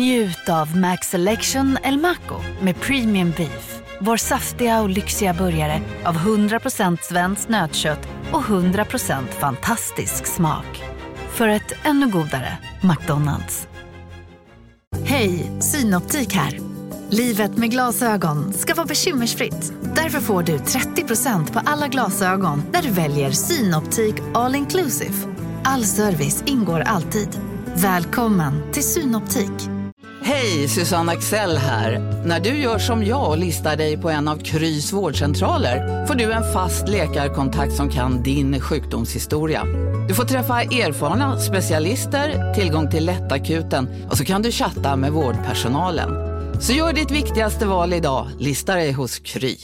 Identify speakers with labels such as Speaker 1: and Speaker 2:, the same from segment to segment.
Speaker 1: Njut av Max Selection El Maco med Premium Beef. Vår saftiga och lyxiga burgare av 100% svenskt nötkött och 100% fantastisk smak. För ett ännu godare McDonalds. Hej, Synoptik här. Livet med glasögon ska vara bekymmersfritt. Därför får du 30% på alla glasögon när du väljer Synoptik All Inclusive. All service ingår alltid. Välkommen till Synoptik.
Speaker 2: Hej, Susanne Axel här. När du gör som jag och listar dig på en av Krys vårdcentraler får du en fast läkarkontakt som kan din sjukdomshistoria. Du får träffa erfarna specialister, tillgång till lättakuten och så kan du chatta med vårdpersonalen. Så gör ditt viktigaste val idag, lista dig hos Kry.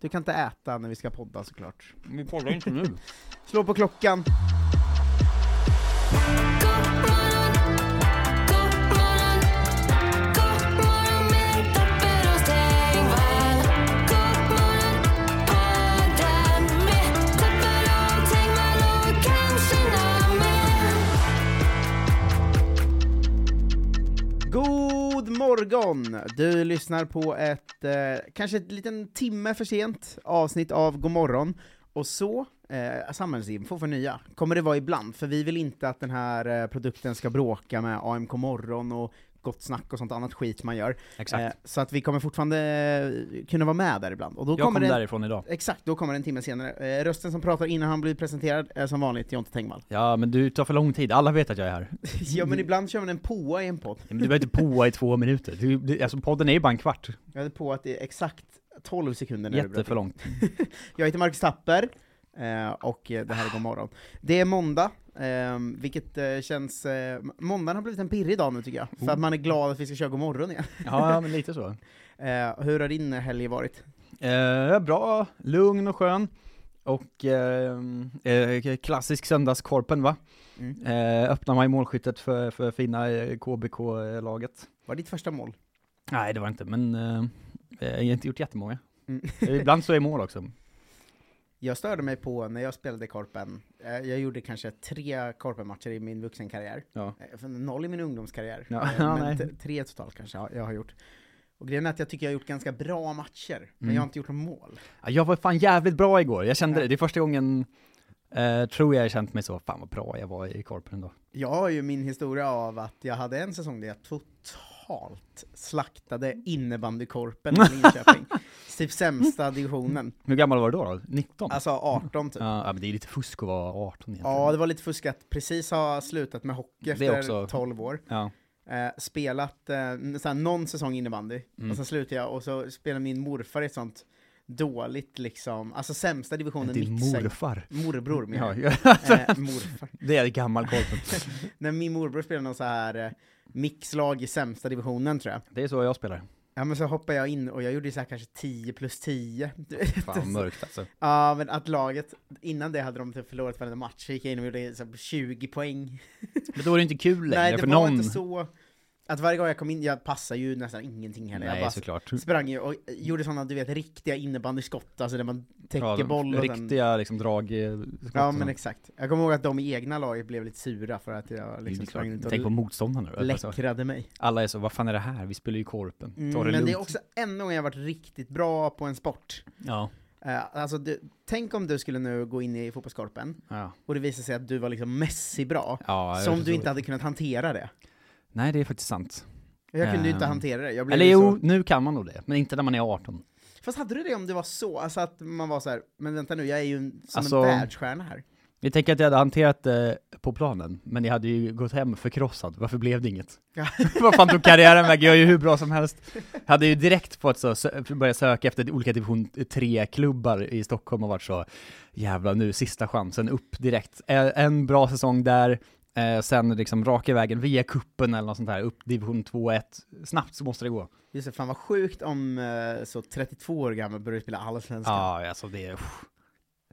Speaker 3: Du kan inte äta när vi ska podda såklart.
Speaker 4: Vi poddar inte nu.
Speaker 3: Slå på klockan. God morgon! Du lyssnar på ett, eh, kanske ett liten timme för sent avsnitt av God morgon. Och så, eh, samhällsinfo för nya, kommer det vara ibland, för vi vill inte att den här eh, produkten ska bråka med AMK morgon och Gott snack och sånt annat skit man gör.
Speaker 4: Exakt.
Speaker 3: Eh, så att vi kommer fortfarande eh, kunna vara med där ibland. Och då
Speaker 4: jag kom
Speaker 3: kommer det,
Speaker 4: därifrån idag.
Speaker 3: Exakt, då kommer det en timme senare. Eh, rösten som pratar innan han blir presenterad är som vanligt Jonte Tengvall.
Speaker 4: Ja, men du tar för lång tid. Alla vet att jag är här.
Speaker 3: ja men ibland kör man en påa i en podd.
Speaker 4: Men du behöver inte påa i två minuter. Du, du, alltså podden är ju bara en kvart.
Speaker 3: Jag hade på att det är exakt 12 sekunder när det bröt
Speaker 4: Jätteför långt.
Speaker 3: Jag heter Marcus Tapper, eh, och eh, det här är God morgon. Det är måndag, eh, vilket eh, känns... Eh, måndagen har blivit en pirrig dag nu tycker jag, för att man är glad att vi ska köra God morgon igen.
Speaker 4: Ja, ja, men lite så.
Speaker 3: Eh, hur har din helg varit?
Speaker 4: Eh, bra, lugn och skön. Och eh, eh, klassisk söndagskorpen va?
Speaker 3: Mm.
Speaker 4: Eh, öppnar man i målskyttet för, för fina eh, KBK-laget.
Speaker 3: Var ditt första mål?
Speaker 4: Nej det var det inte, men eh, jag har inte gjort jättemånga. Eh,
Speaker 3: Mm.
Speaker 4: Ibland så är mål också.
Speaker 3: Jag störde mig på när jag spelade Korpen, eh, jag gjorde kanske tre Korpenmatcher i min vuxenkarriär.
Speaker 4: Ja.
Speaker 3: Eh, för Noll i min ungdomskarriär,
Speaker 4: Ja,
Speaker 3: Eh,
Speaker 4: ja,
Speaker 3: men
Speaker 4: nej.
Speaker 3: t- tre totalt kanske jag, jag har gjort. Och grejen är att jag tycker jag har gjort ganska bra matcher, men
Speaker 4: Mm.
Speaker 3: jag har inte gjort några mål.
Speaker 4: Ja, Jag var fan jävligt bra igår, jag kände
Speaker 3: Ja.
Speaker 4: det. Det är första gången, eh, tror jag, jag känt mig så, fan vad bra jag var i korpen då.
Speaker 3: Jag har ju min historia av att jag hade en säsong där jag totalt slaktade innebandykorpen i Linköping. typ sämsta divisionen.
Speaker 4: Hur gammal var du då? då? 19?
Speaker 3: Alltså 18 typ.
Speaker 4: ja, ja, men det är lite fusk att vara 18 egentligen.
Speaker 3: Ja, det var lite fuskat. Precis ha slutat med hockey
Speaker 4: Det
Speaker 3: efter
Speaker 4: också.
Speaker 3: 12 år.
Speaker 4: Ja.
Speaker 3: Eh, spelat eh, n- såhär, någon säsong innebandy,
Speaker 4: Mm.
Speaker 3: och sen slutade jag, och så spelade min morfar i ett sånt dåligt liksom, alltså sämsta divisionen
Speaker 4: Din
Speaker 3: mixar-
Speaker 4: morfar.
Speaker 3: Morbror menar
Speaker 4: Ja,
Speaker 3: jag.
Speaker 4: ja,
Speaker 3: Eh, morfar.
Speaker 4: det är gammal korpen.
Speaker 3: När min morbror spelade någon så här eh, mixlag i sämsta divisionen tror jag.
Speaker 4: Det är så jag spelar.
Speaker 3: Ja men så hoppade jag in och jag gjorde så här kanske 10 plus 10. Du vet.
Speaker 4: Fan mörkt alltså.
Speaker 3: Ja men att laget, innan det hade de typ förlorat varenda match, så gick jag in och gjorde så här 20 poäng.
Speaker 4: Men då är det inte kul längre
Speaker 3: Nej det
Speaker 4: för
Speaker 3: var
Speaker 4: någon.
Speaker 3: inte så, att varje gång jag kom in, jag passade ju nästan ingenting heller.
Speaker 4: Nej
Speaker 3: jag bara
Speaker 4: såklart.
Speaker 3: sprang ju och gjorde sådana du vet riktiga innebandyskott, alltså där man täcker
Speaker 4: Ja, de
Speaker 3: boll och sen...
Speaker 4: Riktiga liksom drag eh, skott
Speaker 3: Ja
Speaker 4: och
Speaker 3: men
Speaker 4: sånt.
Speaker 3: exakt. Jag kommer ihåg att de i egna laget blev lite sura för att jag
Speaker 4: Det är
Speaker 3: liksom
Speaker 4: klart.
Speaker 3: sprang runt
Speaker 4: Tänk på
Speaker 3: och
Speaker 4: motståndarna då. Alltså,
Speaker 3: läckrade mig.
Speaker 4: alla är så, vad fan är det här? Vi spelar ju korpen. Ta det
Speaker 3: Mm,
Speaker 4: lugnt.
Speaker 3: men det är också enda gången jag varit riktigt bra på en sport.
Speaker 4: Ja.
Speaker 3: Eh, alltså, du, tänk om du skulle nu gå in i fotbollskorpen,
Speaker 4: ja.
Speaker 3: och det visar sig att du var liksom Messi-bra,
Speaker 4: ja jag
Speaker 3: som
Speaker 4: förstår.
Speaker 3: du inte hade kunnat hantera det.
Speaker 4: Nej det är faktiskt sant.
Speaker 3: Jag kunde ju inte
Speaker 4: Ehm.
Speaker 3: hantera det, jag blev
Speaker 4: Eller
Speaker 3: ju
Speaker 4: jo,
Speaker 3: så...
Speaker 4: nu kan man nog det. Men inte när man är 18.
Speaker 3: Fast hade du det om det var så, alltså att man var så här, men vänta nu, jag är ju en, som
Speaker 4: Alltså-
Speaker 3: en världsstjärna här.
Speaker 4: Jag tänker att jag hade hanterat det på planen, men jag hade ju gått hem förkrossad. Varför blev det inget?
Speaker 3: Ja.
Speaker 4: Vad fan tog karriären vägen? Jag är ju hur bra som helst. Jag hade ju direkt fått så, sö- börja söka efter olika division 3-klubbar i Stockholm och varit så, jävla nu, sista chansen, upp direkt. Eh, En bra säsong där, eh, sen liksom raka vägen via kuppen eller något sånt här, upp division 2-1. Snabbt så måste det gå.
Speaker 3: Just det, fan vad sjukt om eh, så 32 år gammal började spela allsvenskan.
Speaker 4: Ja, alltså det är pff,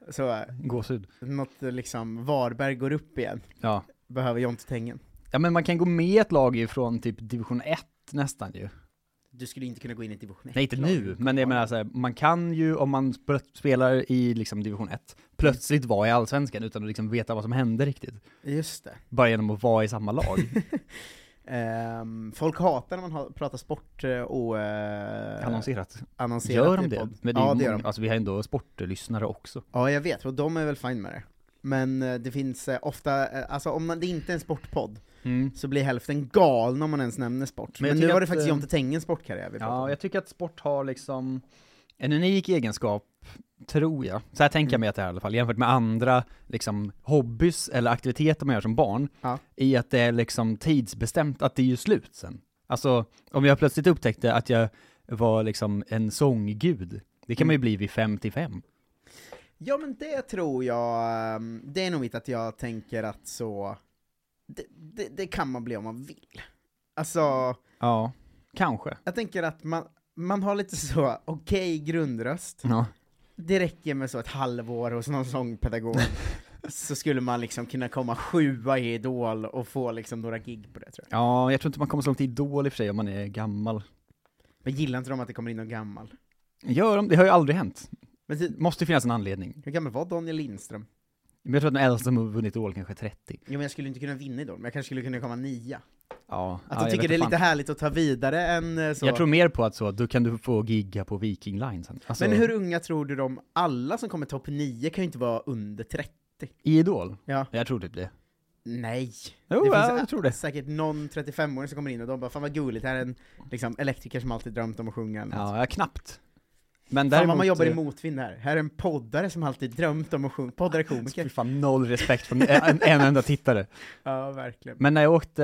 Speaker 3: Så eh,
Speaker 4: gåshud.
Speaker 3: något eh, liksom, Varberg går upp igen,
Speaker 4: Ja.
Speaker 3: behöver Jonte Tengen.
Speaker 4: ja, men man kan gå med ett lag ifrån typ division 1 nästan ju.
Speaker 3: Du skulle inte kunna gå in i division 1.
Speaker 4: Nej, inte nu, men jag menar så här, man kan ju om man sp- spelar i liksom division 1, plötsligt vara i allsvenskan utan att liksom veta vad som hände riktigt.
Speaker 3: Just det.
Speaker 4: Bara genom att vara i samma lag.
Speaker 3: Ehm, folk hatar när man har, pratar sport eh, och eh,
Speaker 4: Annonserat.
Speaker 3: annonserat
Speaker 4: Gör de
Speaker 3: i
Speaker 4: det?
Speaker 3: podd.
Speaker 4: Men det är
Speaker 3: ja,
Speaker 4: ju
Speaker 3: det gör
Speaker 4: många-
Speaker 3: de.
Speaker 4: Alltså vi har ändå sportlyssnare också.
Speaker 3: Ja, jag vet, och de är väl fine med det. Men eh, det finns eh, ofta, eh, alltså om man, det inte är en sportpodd, så blir hälften galna om man ens nämner sport. Men,
Speaker 4: Men jag
Speaker 3: nu
Speaker 4: tycker
Speaker 3: var det
Speaker 4: att,
Speaker 3: faktiskt
Speaker 4: eh,
Speaker 3: Jonte Tengens sportkarriär vi pratade
Speaker 4: Ja,
Speaker 3: om.
Speaker 4: jag tycker att sport har liksom en unik egenskap, tror jag. Så här tänker
Speaker 3: Mm.
Speaker 4: jag mig att det är i alla fall, jämfört med andra liksom, hobbys eller aktiviteter man gör som barn,
Speaker 3: Ja.
Speaker 4: i att det är liksom tidsbestämt att det är ju slut sen. Alltså, om jag plötsligt upptäckte att jag var liksom en sånggud, det
Speaker 3: Mm.
Speaker 4: kan man ju bli vid 55.
Speaker 3: Ja men det tror jag, ehm, det är nog mitt att jag tänker att så, det, det, det kan man bli om man vill. Alltså,
Speaker 4: Ja, kanske.
Speaker 3: jag tänker att man, man har lite så okej grundröst,
Speaker 4: Ja.
Speaker 3: det räcker med så ett halvår hos någon sångpedagog, så skulle man liksom kunna komma sjua i Idol och få liksom några gig på det tror jag.
Speaker 4: ja, jag tror inte man kommer så långt i Idol i och för sig om man är gammal.
Speaker 3: Men gillar inte de att det kommer in någon gammal?
Speaker 4: Gör de? Det har ju aldrig hänt.
Speaker 3: Men ty-
Speaker 4: Måste ju finnas en anledning.
Speaker 3: hur gammal var Daniel Lindström?
Speaker 4: Men jag tror att den äldsta som har vunnit Idol kanske är 30.
Speaker 3: Jo men jag skulle inte kunna vinna Idol, men jag kanske skulle kunna komma nia.
Speaker 4: Ja,
Speaker 3: Att
Speaker 4: ja,
Speaker 3: de
Speaker 4: jag
Speaker 3: tycker
Speaker 4: vet
Speaker 3: det är
Speaker 4: fan.
Speaker 3: lite härligt att ta vidare än eh, så.
Speaker 4: Jag tror mer på att så, då kan du få gigga på Viking Line sen. Alltså,
Speaker 3: Men hur unga tror du de, alla som kommer topp 9 kan ju inte vara under 30.
Speaker 4: I Idol?
Speaker 3: Ja.
Speaker 4: Jag tror typ det.
Speaker 3: Nej.
Speaker 4: Jo,
Speaker 3: det
Speaker 4: ja,
Speaker 3: finns
Speaker 4: jag tror det.
Speaker 3: säkert någon 35-åring som kommer in och de bara 'Fan vad gulligt, det här är en liksom, elektriker som alltid drömt om att sjunga' eller något.
Speaker 4: Ja, jag knappt. Men
Speaker 3: Fan
Speaker 4: däremot...
Speaker 3: vad man jobbar i
Speaker 4: eh,
Speaker 3: motvind här. Här är en poddare som alltid drömt om att sjunga, poddare
Speaker 4: Fy
Speaker 3: komiker.
Speaker 4: fan, noll respekt från en, en enda tittare.
Speaker 3: Ja, verkligen.
Speaker 4: Men när, jag åkte,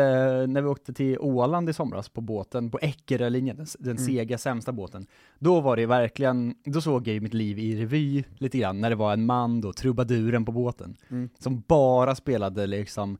Speaker 4: när vi åkte till Åland i somras på båten, på Eckerölinjen, den, den
Speaker 3: Mm.
Speaker 4: sega sämsta båten, då var det verkligen, då såg jag ju mitt liv i revy lite grann, när det var en man då, trubaduren på båten,
Speaker 3: Mm.
Speaker 4: som bara spelade liksom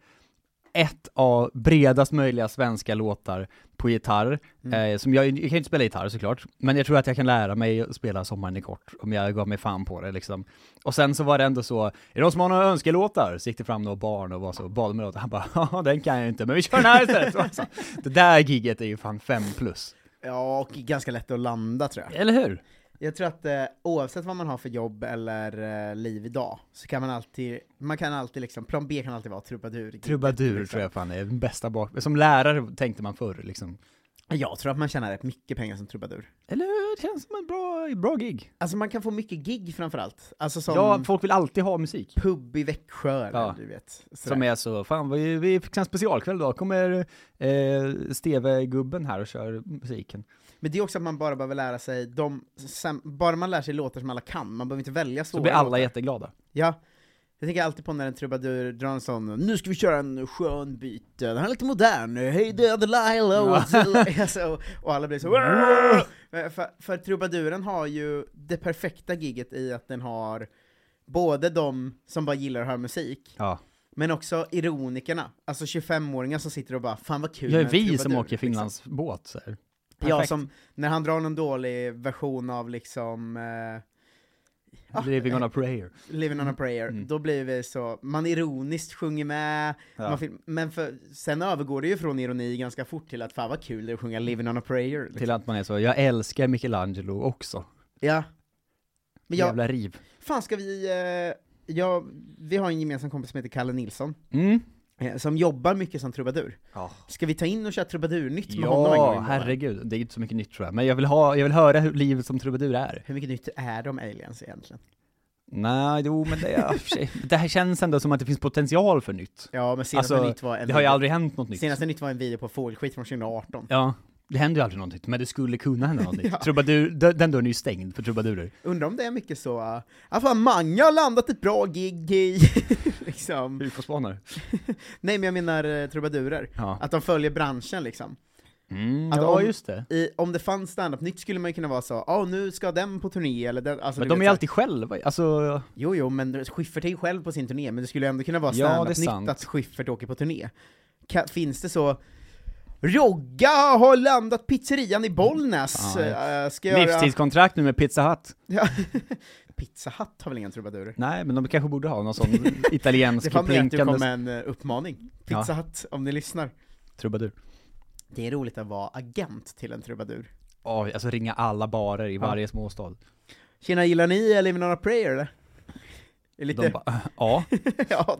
Speaker 4: ett av bredast möjliga svenska låtar på gitarr, eh, som jag, jag kan ju inte spela gitarr såklart, men jag tror att jag kan lära mig att spela Sommaren är kort om jag gav mig fan på det liksom. Och sen så var det ändå så, är det någon som har några önskelåtar? Så gick det fram några barn och var så, bad med låtar, han bara, ja den kan jag inte, men vi kör den här istället. Alltså, det där giget är ju fan fem plus.
Speaker 3: Ja, och ganska lätt att landa tror jag.
Speaker 4: Eller hur?
Speaker 3: Jag tror att eh, oavsett vad man har för jobb eller eh, liv idag, så kan man alltid, man kan alltid liksom, plan B kan alltid vara liksom. trubadur.
Speaker 4: Trubadur tror jag fan är den bästa bak... Som lärare tänkte man förr liksom.
Speaker 3: Jag tror att man tjänar rätt mycket pengar som trubadur.
Speaker 4: Eller hur? Det känns som en bra, bra gig.
Speaker 3: Alltså man kan få mycket gig framförallt, alltså som
Speaker 4: Ja, folk vill alltid ha musik.
Speaker 3: pub i Växjö eller
Speaker 4: Ja.
Speaker 3: du vet. sådär.
Speaker 4: Som är så, fan vi, vi fick en specialkväll idag, kommer eh, Steve-gubben här och kör musiken.
Speaker 3: Men det är också att man bara behöver lära sig, de, sam, bara man lär sig låtar som alla kan, man behöver inte välja svåra
Speaker 4: Så blir alla
Speaker 3: låtar.
Speaker 4: jätteglada.
Speaker 3: Ja. Jag tänker alltid på när en trubadur drar en sån, nu ska vi köra en skön bit, den här är lite modern, hej död Lilo, alltså, och alla blir så "Wah!" Men för, för trubaduren har ju det perfekta gigget i att den har både de som bara gillar att höra musik,
Speaker 4: Ja.
Speaker 3: Men också ironikerna, alltså 25-åringar som sitter och bara 'Fan vad kul'
Speaker 4: Jag är
Speaker 3: med en
Speaker 4: vi som
Speaker 3: trubadur",
Speaker 4: åker Finlands båt så här.
Speaker 3: Liksom. Ja,
Speaker 4: Perfekt.
Speaker 3: som när han drar någon dålig version av liksom eh, Ah, eh,
Speaker 4: Living on a Mm. prayer.
Speaker 3: Living on a prayer, då blir vi så, man ironiskt sjunger med,
Speaker 4: Ja.
Speaker 3: man film, men för, sen övergår det ju från ironi ganska fort till att 'Fan vad kul det är att sjunga Living on a prayer' liksom.
Speaker 4: Till att man är så, jag älskar Michelangelo också.
Speaker 3: Ja. Men jag,
Speaker 4: Jävla riv.
Speaker 3: fan ska vi, eh, ja, vi har en gemensam kompis som heter Kalle Nilsson,
Speaker 4: Mm.
Speaker 3: eh, som jobbar mycket som trubadur.
Speaker 4: Ja,
Speaker 3: Ska vi ta in och köra trubadurnytt med honom en gång i månaden?
Speaker 4: herregud. Det är inte så mycket nytt tror jag. Men jag vill, ha, jag vill höra hur livet som trubadur är.
Speaker 3: Hur mycket nytt är de aliens egentligen?
Speaker 4: Nej, jo men det, ja, för sig. det här känns ändå som att det finns potential för nytt.
Speaker 3: Ja, men senaste
Speaker 4: Alltså,
Speaker 3: nytt var en
Speaker 4: Det har ju
Speaker 3: video-
Speaker 4: aldrig hänt något nytt.
Speaker 3: Senaste nytt var en video på fågelskit från 2018.
Speaker 4: Ja, det händer ju aldrig något nytt, men det skulle kunna hända något nytt. Trubadur, d- den dörren är ju stängd för trubadurer.
Speaker 3: Undrar om det är mycket så, äh, ja fan Mange har landat ett bra gig i, liksom.
Speaker 4: UFO-spanare.
Speaker 3: Nej men jag menar eh, trubadurer.
Speaker 4: Ja.
Speaker 3: Att de följer branschen liksom.
Speaker 4: Mm,
Speaker 3: Att
Speaker 4: ja,
Speaker 3: Alltså, om-
Speaker 4: just det.
Speaker 3: I, om det fanns standup nytt skulle man ju kunna vara så, ja nu ska den på turné eller den, alltså,
Speaker 4: Men
Speaker 3: du vet
Speaker 4: de är ju
Speaker 3: så-
Speaker 4: alltid själva, alltså,
Speaker 3: Jo jo, men Schyffert är ju själv på sin turné, men det skulle ju ändå kunna vara
Speaker 4: Ja, det är
Speaker 3: standup nytt
Speaker 4: sant.
Speaker 3: att Schyffert åker på turné. Ka- finns det så Rogga har landat pizzerian i Bollnäs,
Speaker 4: Fan.
Speaker 3: eh, ska göra...
Speaker 4: livstidskontrakt nu med Pizza Hut.
Speaker 3: Ja. Pizza Hut har väl inga trubadurer?
Speaker 4: Nej, men de kanske borde ha någon sån
Speaker 3: Det
Speaker 4: italiensk
Speaker 3: får med att du kom
Speaker 4: blinkande
Speaker 3: med en eh, uppmaning. Pizza Hut, om ni lyssnar.
Speaker 4: trubadur.
Speaker 3: Det är roligt att vara agent till en trubadur.
Speaker 4: oh, alltså ringa alla barer i varje småstad.
Speaker 3: Tjena, gillar ni Eliminara Prayer eller? Det är lite...
Speaker 4: De bara, ja.
Speaker 3: ja,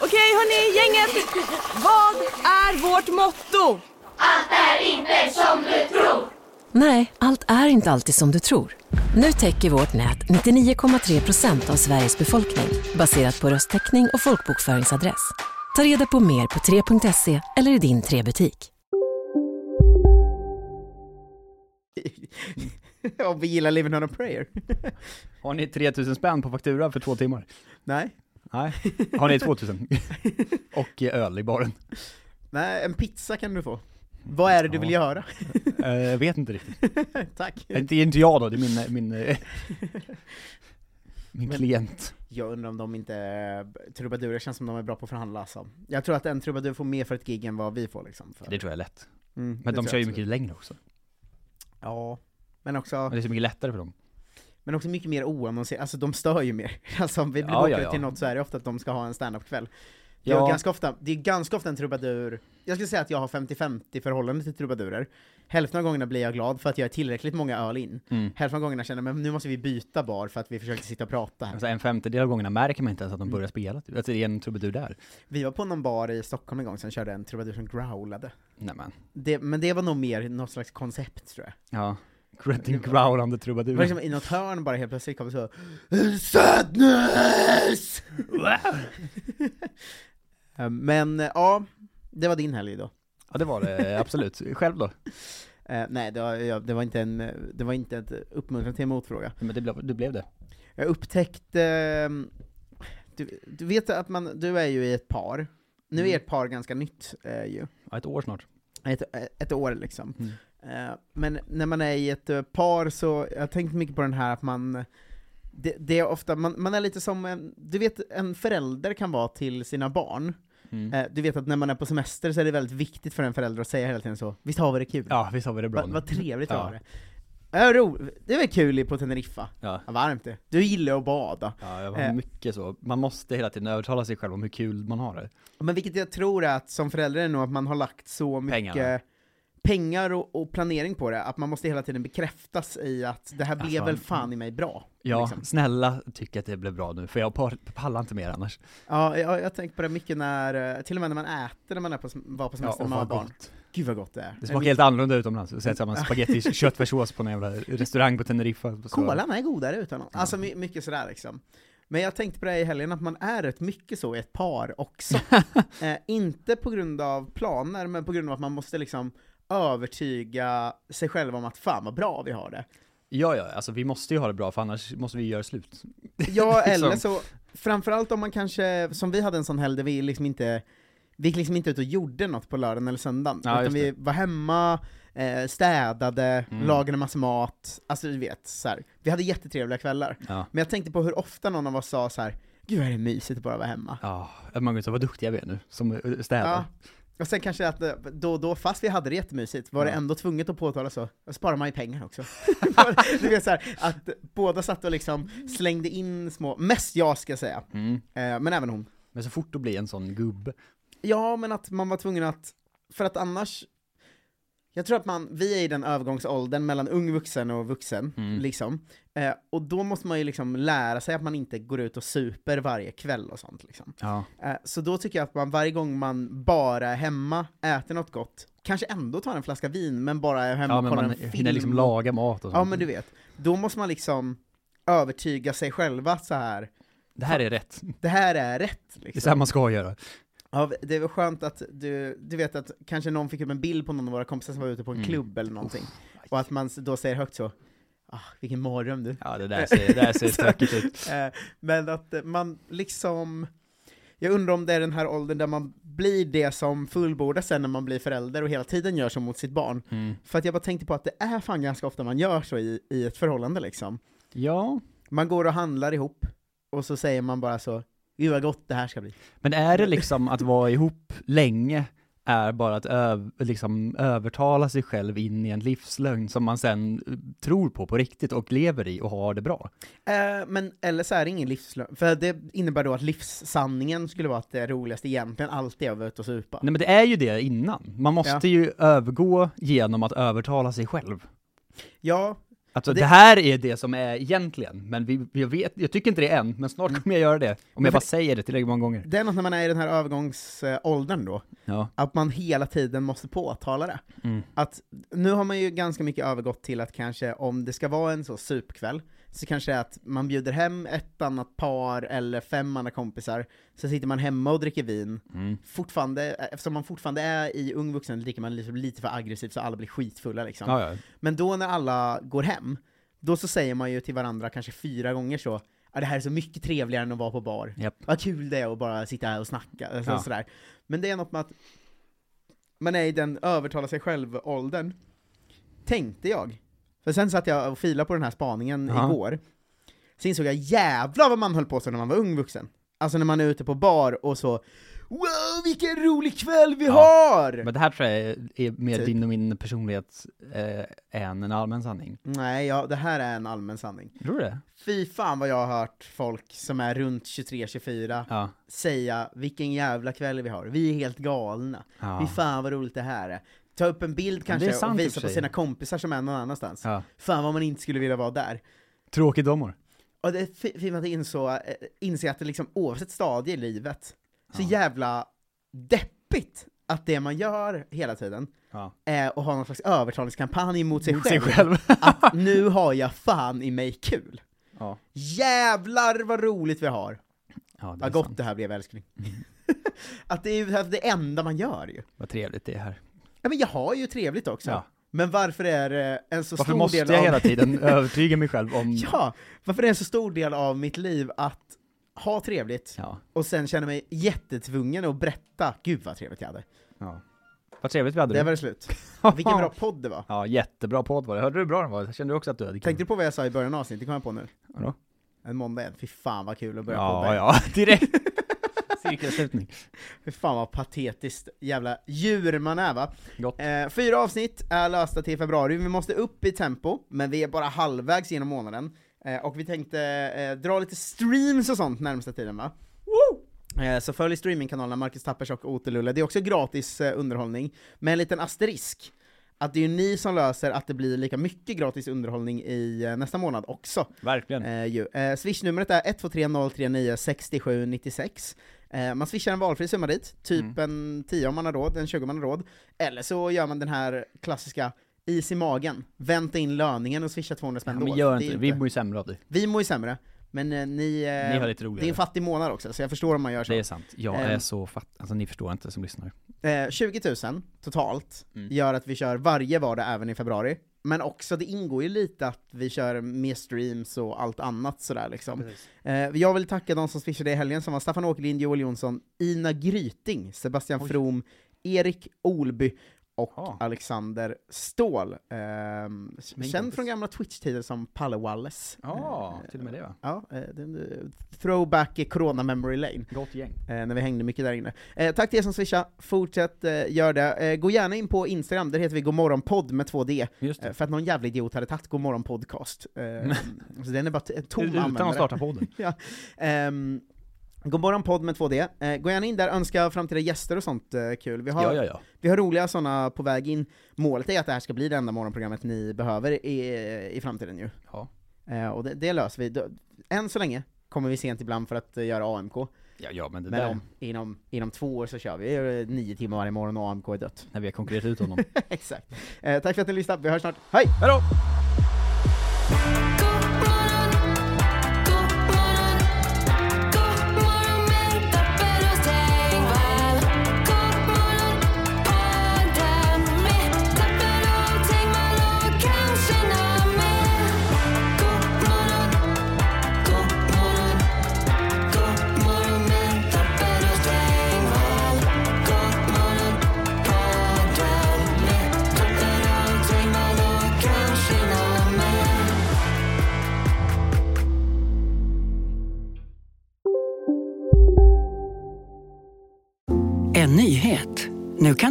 Speaker 5: Okej hörni, gänget! Vad är vårt motto?
Speaker 6: Nej, allt är inte alltid som du tror. Nu täcker vårt nät 99,3 procent av Sveriges befolkning baserat på röstteckning och folkbokföringsadress. Ta reda på mer på 3.se eller i din 3-butik.
Speaker 3: om vi gillar Living on a prayer.
Speaker 4: Har ni 3000 spänn på faktura för två timmar?
Speaker 3: Nej.
Speaker 4: Nej. Har ni 2000? Och eh, öl i baren?
Speaker 3: Nej, en pizza kan du få. Vad är det du vill göra?
Speaker 4: Eh, Jag vet inte riktigt.
Speaker 3: Tack.
Speaker 4: Det är inte jag då, det är min, min, eh, min
Speaker 3: Men-
Speaker 4: klient.
Speaker 3: Jag undrar om de inte, eh, trubadurer känns som de är bra på att förhandla alltså. Jag tror att en trubadur får mer för ett gig än vad vi får liksom. För.
Speaker 4: Det tror jag är lätt.
Speaker 3: Mm, det
Speaker 4: Men de
Speaker 3: tror
Speaker 4: kör ju
Speaker 3: jag
Speaker 4: mycket längre också.
Speaker 3: absolut. Ja. Men också,
Speaker 4: Men det är så mycket lättare för dem.
Speaker 3: men också mycket mer oannonserat, alltså de stör ju mer. Alltså om vi blir
Speaker 4: Ja,
Speaker 3: bokade
Speaker 4: ja, ja.
Speaker 3: till något så är det ofta att de ska ha en standup-kväll. Det,
Speaker 4: Ja.
Speaker 3: är ganska ofta, det är ganska ofta en trubadur, jag skulle säga att jag har 50-50 förhållande till trubadurer. Hälften av gångerna blir jag glad för att jag är tillräckligt många öl in.
Speaker 4: Mm.
Speaker 3: Hälften av gångerna känner jag men nu måste vi byta bar för att vi försökte sitta och prata här.
Speaker 4: Alltså en femtedel av gångerna märker man inte ens att de börjar spela. typ. Att det är en trubadur där.
Speaker 3: Vi var på någon bar i Stockholm en gång som körde en trubadur som growlade.
Speaker 4: Nej men.
Speaker 3: Det, men det var nog mer något slags koncept tror jag.
Speaker 4: Ja. Den growlande
Speaker 3: Det var
Speaker 4: trubaduren.
Speaker 3: liksom i något hörn bara helt plötsligt kom så Sadness! Eh, men eh, ja, det var din helg då.
Speaker 4: Ja det var det, absolut. Själv då?
Speaker 3: Eh, nej, det var, jag- det var inte en, eh, det var inte ett uppmuntrande till en motfråga.
Speaker 4: Men det blev, det blev det.
Speaker 3: Jag upptäckte, ehm, du, du vet att man, du är ju i ett par, nu är ert par ganska nytt eh, ju.
Speaker 4: Ja, ett år snart.
Speaker 3: ett, ett år liksom.
Speaker 4: Mm.
Speaker 3: Eh, Men när man är i ett eh, par så, jag har tänkt mycket på den här att man, det, det är ofta, man, man är lite som en, du vet en förälder kan vara till sina barn.
Speaker 4: Mm.
Speaker 3: Eh, Du vet att när man är på semester så är det väldigt viktigt för en förälder att säga hela tiden så, visst har vi det kul?
Speaker 4: Ja visst har vi det bra
Speaker 3: vad,
Speaker 4: nu?
Speaker 3: vad trevligt
Speaker 4: Ja.
Speaker 3: var det. Ja, ro, det var kul i- på Teneriffa.
Speaker 4: Ja.
Speaker 3: Ja, varmt det. Du gillar att bada.
Speaker 4: Ja, jag
Speaker 3: Eh.
Speaker 4: var mycket så. Man måste hela tiden övertala sig själv om hur kul man har det.
Speaker 3: Men vilket jag tror är att som förälder är nog att man har lagt så mycket
Speaker 4: Pengarna.
Speaker 3: pengar och, och planering på det, att man måste hela tiden bekräftas i att det här blev
Speaker 4: Alltså,
Speaker 3: väl fan i mig bra.
Speaker 4: Ja,
Speaker 3: liksom.
Speaker 4: snälla tyck att det blev bra nu, för jag par- pallar inte mer annars.
Speaker 3: ja jag, jag har tänkt på det mycket när, eh, till och med när man äter när man är på, sem- var på semester när man var barn. Gud vad gott det är.
Speaker 4: Det smakar helt annorlanda utomlands. Så äter
Speaker 3: Mm.
Speaker 4: man spagetti köttfärssås på någon jävla restaurang på Teneriffa. Så-
Speaker 3: Kolan är godare utan någon. Alltså my, mycket sådär liksom. Men jag tänkte på det här i helgen, att man är rätt mycket så i ett par också. eh, inte på grund av planer, men på grund av att man måste liksom övertyga sig själv om att fan vad bra vi har det.
Speaker 4: Ja, ja, alltså vi måste ju ha det bra, för annars måste vi göra slut.
Speaker 3: Ja,
Speaker 4: Liksom.
Speaker 3: eller så, framförallt om man kanske, som vi hade en sån helg där vi liksom inte, vi gick liksom inte ut och gjorde något på lördagen eller söndagen,
Speaker 4: Ja,
Speaker 3: utan
Speaker 4: just Mm.
Speaker 3: vi var hemma, eh, städade, lagade massa mat, alltså du vet, så här. vi hade jättetrevliga kvällar.
Speaker 4: Ja.
Speaker 3: Men jag tänkte på hur ofta någon av oss sa så här: gud vad är det mysigt att bara vara hemma.
Speaker 4: Ja, att man går ut och vad duktiga vi är nu, som eh, städare.
Speaker 3: Ja. Och sen kanske att eh, då och då, fast vi hade det jättemysigt, var det ändå tvunget att påtala så, då sparar man ju pengar också. du vet så här, att båda satt och liksom slängde in små, mest jag ska jag säga, eh, men även hon.
Speaker 4: Men så fort du blir en sån gubbe.
Speaker 3: Ja, men att man var tvungen att, för att annars, jag tror att man, vi är i den övergångsåldern mellan ung vuxen och vuxen, liksom. Eh, och då måste man ju liksom lära sig att man inte går ut och super varje kväll och sånt liksom.
Speaker 4: Ja.
Speaker 3: Eh, Så då tycker jag att man varje gång man bara är hemma, äter något gott, kanske ändå tar en flaska vin, men bara är hemma
Speaker 4: Ja,
Speaker 3: och
Speaker 4: men
Speaker 3: kollar
Speaker 4: man
Speaker 3: en film.
Speaker 4: hinner liksom laga mat och sånt.
Speaker 3: Ja men du vet, då måste man liksom övertyga sig själva att så här
Speaker 4: Det här är rätt.
Speaker 3: det här är rätt.
Speaker 4: Det är
Speaker 3: Liksom.
Speaker 4: så här man ska göra.
Speaker 3: Ja, det var skönt att du, du vet att kanske någon fick upp en bild på någon av våra kompisar som var ute på
Speaker 4: Mm.
Speaker 3: en klubb eller någonting, och att man s- då säger högt så ah, vilken mardröm du.
Speaker 4: Ja, det där ser, det där ser stökigt ut.
Speaker 3: Eh, Men att eh, man liksom, Jag undrar om det är den här åldern där man blir det som fullbordas sen när man blir förälder och hela tiden gör så mot sitt barn. För att jag bara tänkte på att det är fan ganska ofta man gör så i, i ett förhållande liksom.
Speaker 4: Ja,
Speaker 3: Man går och handlar ihop, och så säger man bara så, gud vad gott det här ska bli.
Speaker 4: men är det liksom att vara ihop länge är bara att öv, liksom övertala sig själv in i en livslögn som man sen eh, tror på på riktigt och lever i och har det bra?
Speaker 3: Eh, men eller så är det ingen livslögn, för det innebär då att livssanningen skulle vara att det roligaste egentligen alltid är att vara ute och supa.
Speaker 4: Nej men det är ju det innan. Man måste ju övergå genom att övertala sig själv.
Speaker 3: Ja,
Speaker 4: Alltså
Speaker 3: Det-
Speaker 4: det... här är det som är egentligen, men vi, jag, vet, jag tycker inte det än, men snart kommer jag göra det. Om jag bara säger det tillräckligt många gånger.
Speaker 3: det är något när man är i den här övergångsåldern då,
Speaker 4: Ja.
Speaker 3: att man hela tiden måste påtala det.
Speaker 4: Mm.
Speaker 3: Att nu har man ju ganska mycket övergått till att kanske om det ska vara en så supkväll, så kanske det är att man bjuder hem ett annat par eller fem andra kompisar, så sitter man hemma och dricker vin.
Speaker 4: Mm.
Speaker 3: Fortfarande, eftersom man fortfarande är i ung vuxen dricker man liksom lite för aggressivt så alla blir skitfulla liksom.
Speaker 4: Ja, ja.
Speaker 3: Men då när alla går hem, då så säger man ju till varandra kanske fyra gånger så Ja, det här är så mycket trevligare än att vara på bar.
Speaker 4: Japp.
Speaker 3: Vad kul det är att bara sitta här och snacka. Alltså,
Speaker 4: Ja.
Speaker 3: sådär. Men det är något med att man är i den övertala sig själv-åldern, tänkte jag. För sen satt jag och filade på den här spaningen
Speaker 4: Ja.
Speaker 3: igår, så insåg jag jävlar vad man höll på så när man var ung vuxen. Alltså när man är ute på bar och så Wow vilken rolig kväll vi
Speaker 4: Ja.
Speaker 3: har!
Speaker 4: Men det här tror jag är, är mer
Speaker 3: Typ.
Speaker 4: din och min personlighet eh, än en allmän sanning.
Speaker 3: Nej, ja, det här är en allmän sanning.
Speaker 4: Tror du det?
Speaker 3: Fy fan vad jag har hört folk som är runt 23-24
Speaker 4: Ja.
Speaker 3: säga vilken jävla kväll vi har, vi är helt galna,
Speaker 4: Ja.
Speaker 3: fy fan vad roligt det här är. Ta upp en bild
Speaker 4: det är
Speaker 3: kanske
Speaker 4: sant
Speaker 3: och
Speaker 4: i och
Speaker 3: visa
Speaker 4: för
Speaker 3: på
Speaker 4: sig.
Speaker 3: sina kompisar som är någon annanstans.
Speaker 4: ja.
Speaker 3: Fan vad man inte skulle vilja vara där.
Speaker 4: Tråkigdomor.
Speaker 3: Och det är fi- fint att inså, eh, inse att det liksom oavsett stadie i livet, så
Speaker 4: Ja.
Speaker 3: jävla deppigt att det man gör hela tiden
Speaker 4: Ja.
Speaker 3: är att ha någon slags övertalningskampanj mot sig
Speaker 4: Mot sig
Speaker 3: själv.
Speaker 4: själv.
Speaker 3: att nu har jag fan i mig kul.
Speaker 4: Ja.
Speaker 3: Jävlar vad roligt vi har!
Speaker 4: Ja, det är
Speaker 3: Vad gott
Speaker 4: sant. Mm.
Speaker 3: det här blev älskling. att det är ju det enda man gör ju.
Speaker 4: Vad trevligt det är här.
Speaker 3: Ja men jag har ju trevligt också.
Speaker 4: Ja.
Speaker 3: Men varför är det en så
Speaker 4: Varför
Speaker 3: stor
Speaker 4: måste
Speaker 3: del
Speaker 4: jag
Speaker 3: av...
Speaker 4: hela tiden övertyga mig själv om...
Speaker 3: Ja! Varför är det en så stor del av mitt liv att ha trevligt
Speaker 4: Ja.
Speaker 3: och sen känna mig jättetvungen att berätta, gud vad trevligt jag hade.
Speaker 4: ja. Vad trevligt vi hade.
Speaker 3: Där
Speaker 4: nu.
Speaker 3: var det slut. Vilken bra podd det var.
Speaker 4: Ja, jättebra podd var det. Hörde du hur bra den var? Kände du också att du hade
Speaker 3: Tänkte du på vad jag sa i början av avsnittet, det kom jag på nu.
Speaker 4: Vadå?
Speaker 3: En måndag igen, fy fan vad kul att börja podda igen.
Speaker 4: Ja, ja, direkt. Cirkelslutning.
Speaker 3: Fy fan vad patetiskt jävla djur man är va?
Speaker 4: Gott.
Speaker 3: Eh, fyra avsnitt är lösta till februari, vi måste upp i tempo, men vi är bara halvvägs genom månaden. Eh, och vi tänkte eh, dra lite streams och sånt närmsta tiden va? Eh, Så följ streamingkanalerna Marcus Tappers och Otelulle, det är också gratis eh, underhållning, med en liten asterisk. Att det är ju ni som löser att det blir lika mycket gratis underhållning i eh, nästa månad också.
Speaker 4: Verkligen.
Speaker 3: Eh, ju. Eh, Swish-numret är 123-039-6796. Eh, man swishar en valfri summa dit, typ
Speaker 4: Mm.
Speaker 3: en 10 om man har råd, en 20 om man har råd. Eller så gör man den här klassiska is i magen, vänta in löningen och swisha 200 spänn
Speaker 4: Ja, men
Speaker 3: då.
Speaker 4: gör
Speaker 3: Det är
Speaker 4: inte det.
Speaker 3: ju
Speaker 4: Vi mår ju sämre av det.
Speaker 3: vi mår ju sämre, men eh, ni... eh,
Speaker 4: Ni har lite
Speaker 3: det är en
Speaker 4: roligare.
Speaker 3: fattig månad också, så jag förstår om man gör så.
Speaker 4: Det är sant. Jag
Speaker 3: Ehm.
Speaker 4: är så fatt... Alltså ni förstår inte som lyssnar.
Speaker 3: Eh, 20 000 totalt
Speaker 4: Mm.
Speaker 3: gör att vi kör varje vardag även i februari. Men också, det ingår ju lite att vi kör mer streams och allt annat sådär liksom. Eh, jag vill tacka de som swishade i helgen som var Staffan Åkerlind, Joel Jonsson, Ina Gryting, Sebastian From, Erik Olby och
Speaker 4: Ja.
Speaker 3: Alexander Ståhl. Ehm, känd
Speaker 4: kompis.
Speaker 3: från gamla Twitch-tider som Palle Wallace.
Speaker 4: Ja, till och med det va?
Speaker 3: Ja, eh, den, eh, throwback i Corona Memory Lane
Speaker 4: Gott gäng.
Speaker 3: eh, när vi hängde mycket där inne. Eh, tack till er som swishade, fortsätt eh, gör det. Eh, gå gärna in på Instagram, där heter vi Godmorgonpodd med 2D,
Speaker 4: Just
Speaker 3: eh,
Speaker 4: det.
Speaker 3: för att någon jävla idiot hade tagit Godmorgon podcast. Eh, så den är bara t- tom
Speaker 4: Utan
Speaker 3: användare.
Speaker 4: att starta podden.
Speaker 3: ja. Ehm, Godmorgon podd med 2D. Eh, gå gärna in där, önska framtida gäster och sånt eh, kul. Vi har,
Speaker 4: Ja, ja, ja.
Speaker 3: vi har roliga sådana på väg in. Målet är att det här ska bli det enda morgonprogrammet ni behöver i, i framtiden ju.
Speaker 4: Ja.
Speaker 3: Eh, och det, det löser vi. Då- Än så länge kommer vi sent ibland för att eh, göra AMK.
Speaker 4: Ja, ja, men det
Speaker 3: Men
Speaker 4: där,
Speaker 3: om, inom, inom två år så kör vi eh, nio timmar varje morgon och AMK är dött.
Speaker 4: när vi har konkurrerat ut honom.
Speaker 3: Exakt. Eh, tack för att ni lyssnade, vi hörs snart. Hej!
Speaker 4: Hallå!
Speaker 7: God morgon, god morgon, god morgon med Tapper och
Speaker 2: En nyhet. Nu kan